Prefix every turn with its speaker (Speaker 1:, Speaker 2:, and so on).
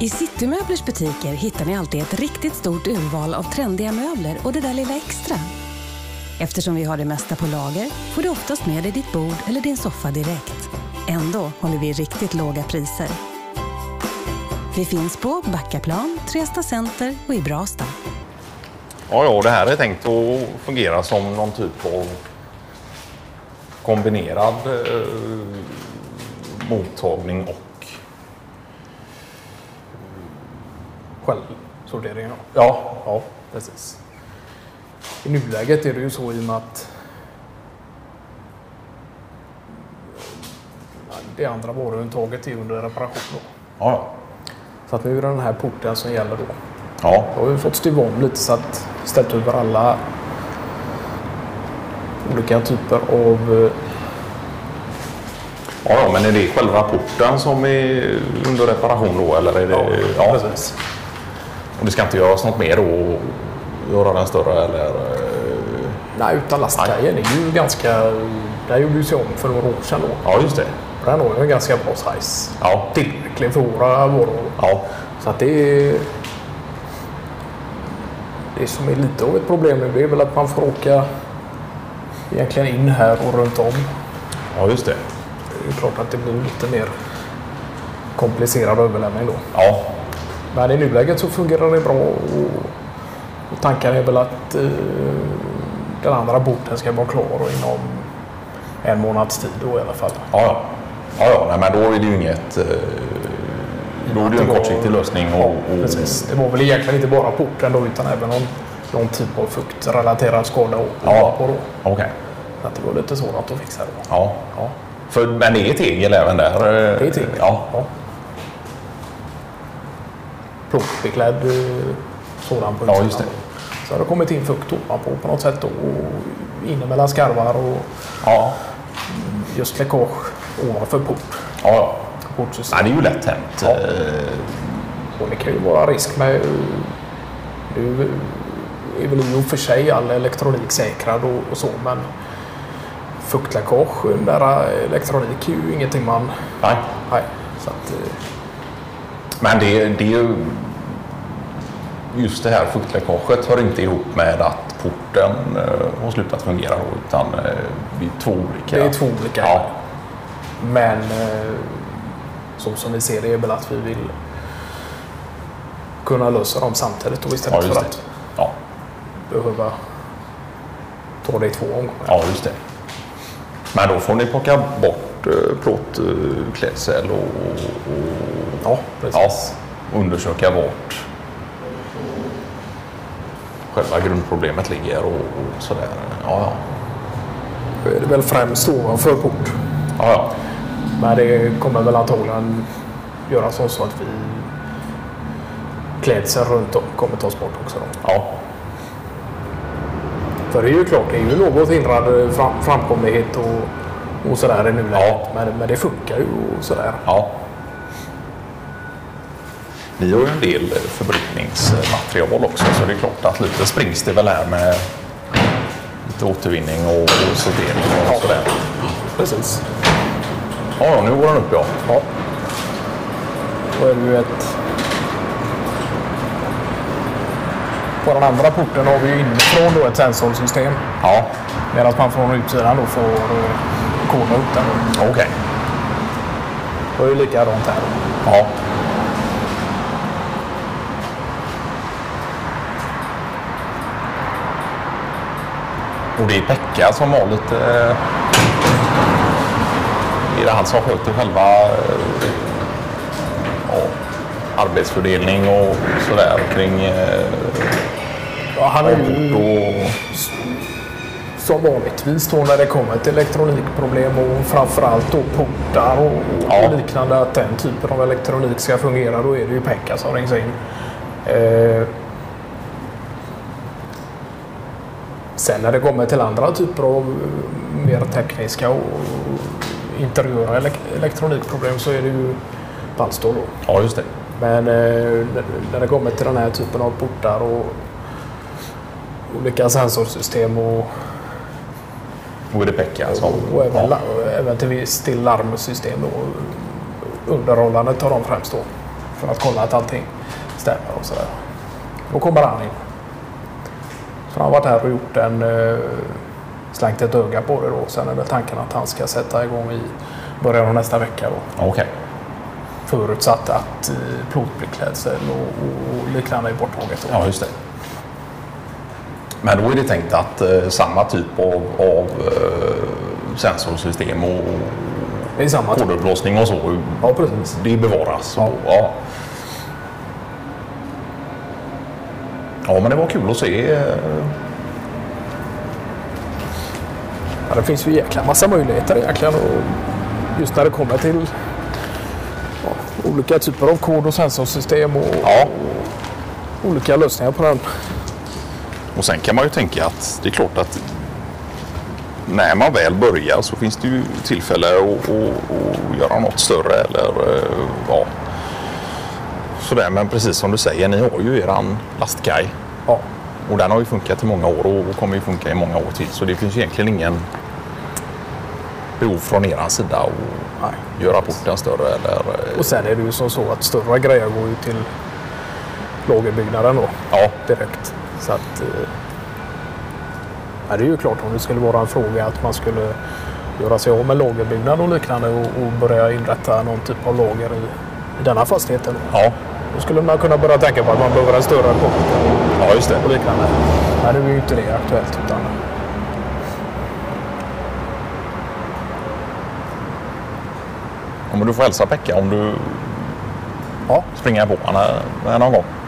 Speaker 1: I Citymöblers butiker hittar ni alltid ett riktigt stort urval av trendiga möbler och det där lilla extra. Eftersom vi har det mesta på lager får du oftast med dig ditt bord eller din soffa direkt. Ändå håller vi riktigt låga priser. Vi finns på Backaplan, Tresta Center och i Brastad.
Speaker 2: Ja, ja, det här är tänkt att fungera som någon typ av kombinerad eh, mottagning och
Speaker 3: Självsortering, ja.
Speaker 2: ja,
Speaker 3: Ja, precis. I nuläget är det ju så i och med att Ja, det andra varuundertaget är under reparation. Då.
Speaker 2: ja,
Speaker 3: Så att nu är det den här porten som gäller då.
Speaker 2: ja,
Speaker 3: Då har vi fått stuva om lite så att ställt över alla olika typer av... eh,
Speaker 2: ja, ja, men är det själva porten som är under reparation då eller är det?
Speaker 3: precis.
Speaker 2: Och det ska inte göras något mer då? Göra den större eller? eh,
Speaker 3: Nej, utan lastkajen är ju ganska... Där gjorde ju sig om för några år sedan. Då.
Speaker 2: Ja, just det.
Speaker 3: Den har ju en ganska bra size.
Speaker 2: Ja, till.
Speaker 3: Verkligen för våra varor.
Speaker 2: Ja,
Speaker 3: Så att det är... Det som är lite av ett problem nu det är väl att man får åka egentligen in här och runt om.
Speaker 2: ja, just det.
Speaker 3: Det är ju klart att det blir lite mer komplicerad överlämning då.
Speaker 2: Ja,
Speaker 3: Men i nuläget så fungerar det bra och, och tanken är väl att eh, den andra boten ska vara klar och inom en månads tid då i alla fall.
Speaker 2: ja, ja. ja, ja nej, men då är det ju inget. eh, Då är det ju en kortsiktig lösning och, och
Speaker 3: Precis. Det var väl egentligen inte bara porten då utan även någon, någon typ av fuktrelaterad skada och
Speaker 2: Ja.
Speaker 3: och då.
Speaker 2: Okej.
Speaker 3: Så Att det var lite sådant att fixa då.
Speaker 2: Ja.
Speaker 3: Ja.
Speaker 2: För, men det är tegel även där? eh,
Speaker 3: Det är tegel.
Speaker 2: Ja.
Speaker 3: Ja. Plåtbeklädd eh, sådan på
Speaker 2: Ja, just det.
Speaker 3: Så har det kommit in fukt ovanpå på något sätt då, och inne mellan skarvar och
Speaker 2: Ja.
Speaker 3: just läckage ovanför port.
Speaker 2: ja, ja.
Speaker 3: Portsystem.
Speaker 2: Nej, det är ju lätt hänt.
Speaker 3: Ja.
Speaker 2: Eh,
Speaker 3: Och det kan ju vara risk med... Nu är väl i och för sig all elektronik säkrad och, och så, men fuktläckage nära elektronik är ju ingenting man...
Speaker 2: Nej.
Speaker 3: Nej, så att... eh,
Speaker 2: Men det, det är ju... Just det här fuktläckaget hör inte ihop med att porten eh, har slutat fungera då, utan eh, det är två olika.
Speaker 3: Det är två olika.
Speaker 2: Ja.
Speaker 3: Men eh, så som vi ser det är väl att vi vill kunna lösa dem samtidigt och
Speaker 2: Ja,
Speaker 3: istället
Speaker 2: just
Speaker 3: för
Speaker 2: det.
Speaker 3: att
Speaker 2: Ja.
Speaker 3: behöva ta det i två omgångar.
Speaker 2: ja, just det. Men då får ni plocka bort eh, plåtklädsel och, och,
Speaker 3: Ja,
Speaker 2: Ja,
Speaker 3: precis.
Speaker 2: undersöka vart själva grundproblemet ligger och, och sådär. Ja,
Speaker 3: Då är det väl främst ovanför port.
Speaker 2: ja. ja, ja.
Speaker 3: Men det kommer väl antagligen göra så, så att vi klädseln runt om kommer tas bort också. Då.
Speaker 2: ja.
Speaker 3: För det är ju klart, det är ju något hindrad eh, fram, framkomlighet och, och sådär i nuläget.
Speaker 2: Ja.
Speaker 3: Men, men det funkar ju och sådär.
Speaker 2: ja. Ni har ju en del förbrukningsmaterial också så det är klart att lite springs det väl här med lite återvinning och, och sortering och sådär.
Speaker 3: Precis.
Speaker 2: Ja, ja, nu går den upp ja.
Speaker 3: Ja. Då är det ju ett... På den andra porten har vi ju inifrån då ett sensorsystem.
Speaker 2: Ja,
Speaker 3: Medan man från utsidan då får eh, koda upp den. då.
Speaker 2: okej.
Speaker 3: Och det är ju likadant här.
Speaker 2: Ja. Och det är Pekka som har lite... eh, Är det han som sköter själva eh, ja, arbetsfördelning och sådär kring eh,
Speaker 3: Ja, han är ju
Speaker 2: och...
Speaker 3: som vanligtvis då när det kommer till elektronikproblem och framförallt då portar och,
Speaker 2: Ja.
Speaker 3: och liknande, att den typen av elektronik ska fungera, då är det ju Pekka som rings in. Eh. Sen när det kommer till andra typer av eh, mer tekniska och interiöra elek- elektronikproblem så är det ju Palstol då.
Speaker 2: Ja, just det.
Speaker 3: Men eh, när- när det kommer till den här typen av portar och olika sensorsystem och,
Speaker 2: Och är det Pekka som...
Speaker 3: och även,
Speaker 2: Ja,
Speaker 3: la, även till viss del larmsystem då. Underhållandet tar de främst då. För att kolla att allting stämmer och sådär. Då kommer han in. Så han har varit här och gjort en... eh, Slängt ett öga på det då. Sen är väl tanken att han ska sätta igång i början av nästa vecka då.
Speaker 2: Okej.
Speaker 3: Förutsatt att eh, plåtbeklädsel och, och, och liknande är borttaget. då.
Speaker 2: Ja, just det. Men då är det tänkt att eh, samma typ av, av eh, sensorsystem och
Speaker 3: Det är samma
Speaker 2: och
Speaker 3: typ.
Speaker 2: koduppblåsning och så,
Speaker 3: Ja, precis.
Speaker 2: det bevaras. Ja. Ja. ja, men det var kul att se. eh,
Speaker 3: Ja, det finns ju jäkla massa möjligheter egentligen. Och just när det kommer till ja, olika typer av kod och sensorsystem och
Speaker 2: Ja.
Speaker 3: olika lösningar på den.
Speaker 2: Och sen kan man ju tänka att det är klart att när man väl börjar så finns det ju tillfälle att, att, att göra något större eller eh, ja. Sådär, men precis som du säger, ni har ju eran lastkaj
Speaker 3: Ja,
Speaker 2: och den har ju funkat i många år och kommer ju funka i många år till. Så det finns ju egentligen ingen behov från eran sida att
Speaker 3: nej.
Speaker 2: göra porten större eller eh,
Speaker 3: Och sen är det ju som så att större grejer går ju till lagerbyggnaden då
Speaker 2: ja,
Speaker 3: direkt. Så att... eh, Ja, det är ju klart om det skulle vara en fråga att man skulle göra sig av med lagerbyggnad och liknande och, och börja inrätta någon typ av lager i, i denna fastigheten.
Speaker 2: ja,
Speaker 3: Då skulle man kunna börja tänka på att man behöver en större port.
Speaker 2: ja, just det.
Speaker 3: och liknande. Nej, nu är ju inte det aktuellt. Utan...
Speaker 2: Ja, men du får hälsa Pekka om du
Speaker 3: Ja.
Speaker 2: springer på honom här någon gång.